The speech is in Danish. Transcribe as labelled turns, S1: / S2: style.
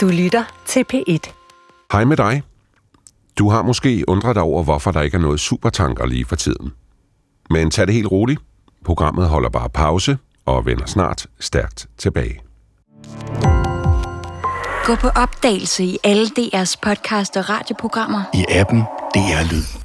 S1: Du lytter til P1.
S2: Hej med dig. Du har måske undret dig over, hvorfor der ikke er noget supertanker lige for tiden. Men tag det helt roligt. Programmet holder bare pause og vender snart stærkt tilbage.
S3: Gå på opdagelse i alle DR's podcast og radioprogrammer.
S4: I appen DR Lyd.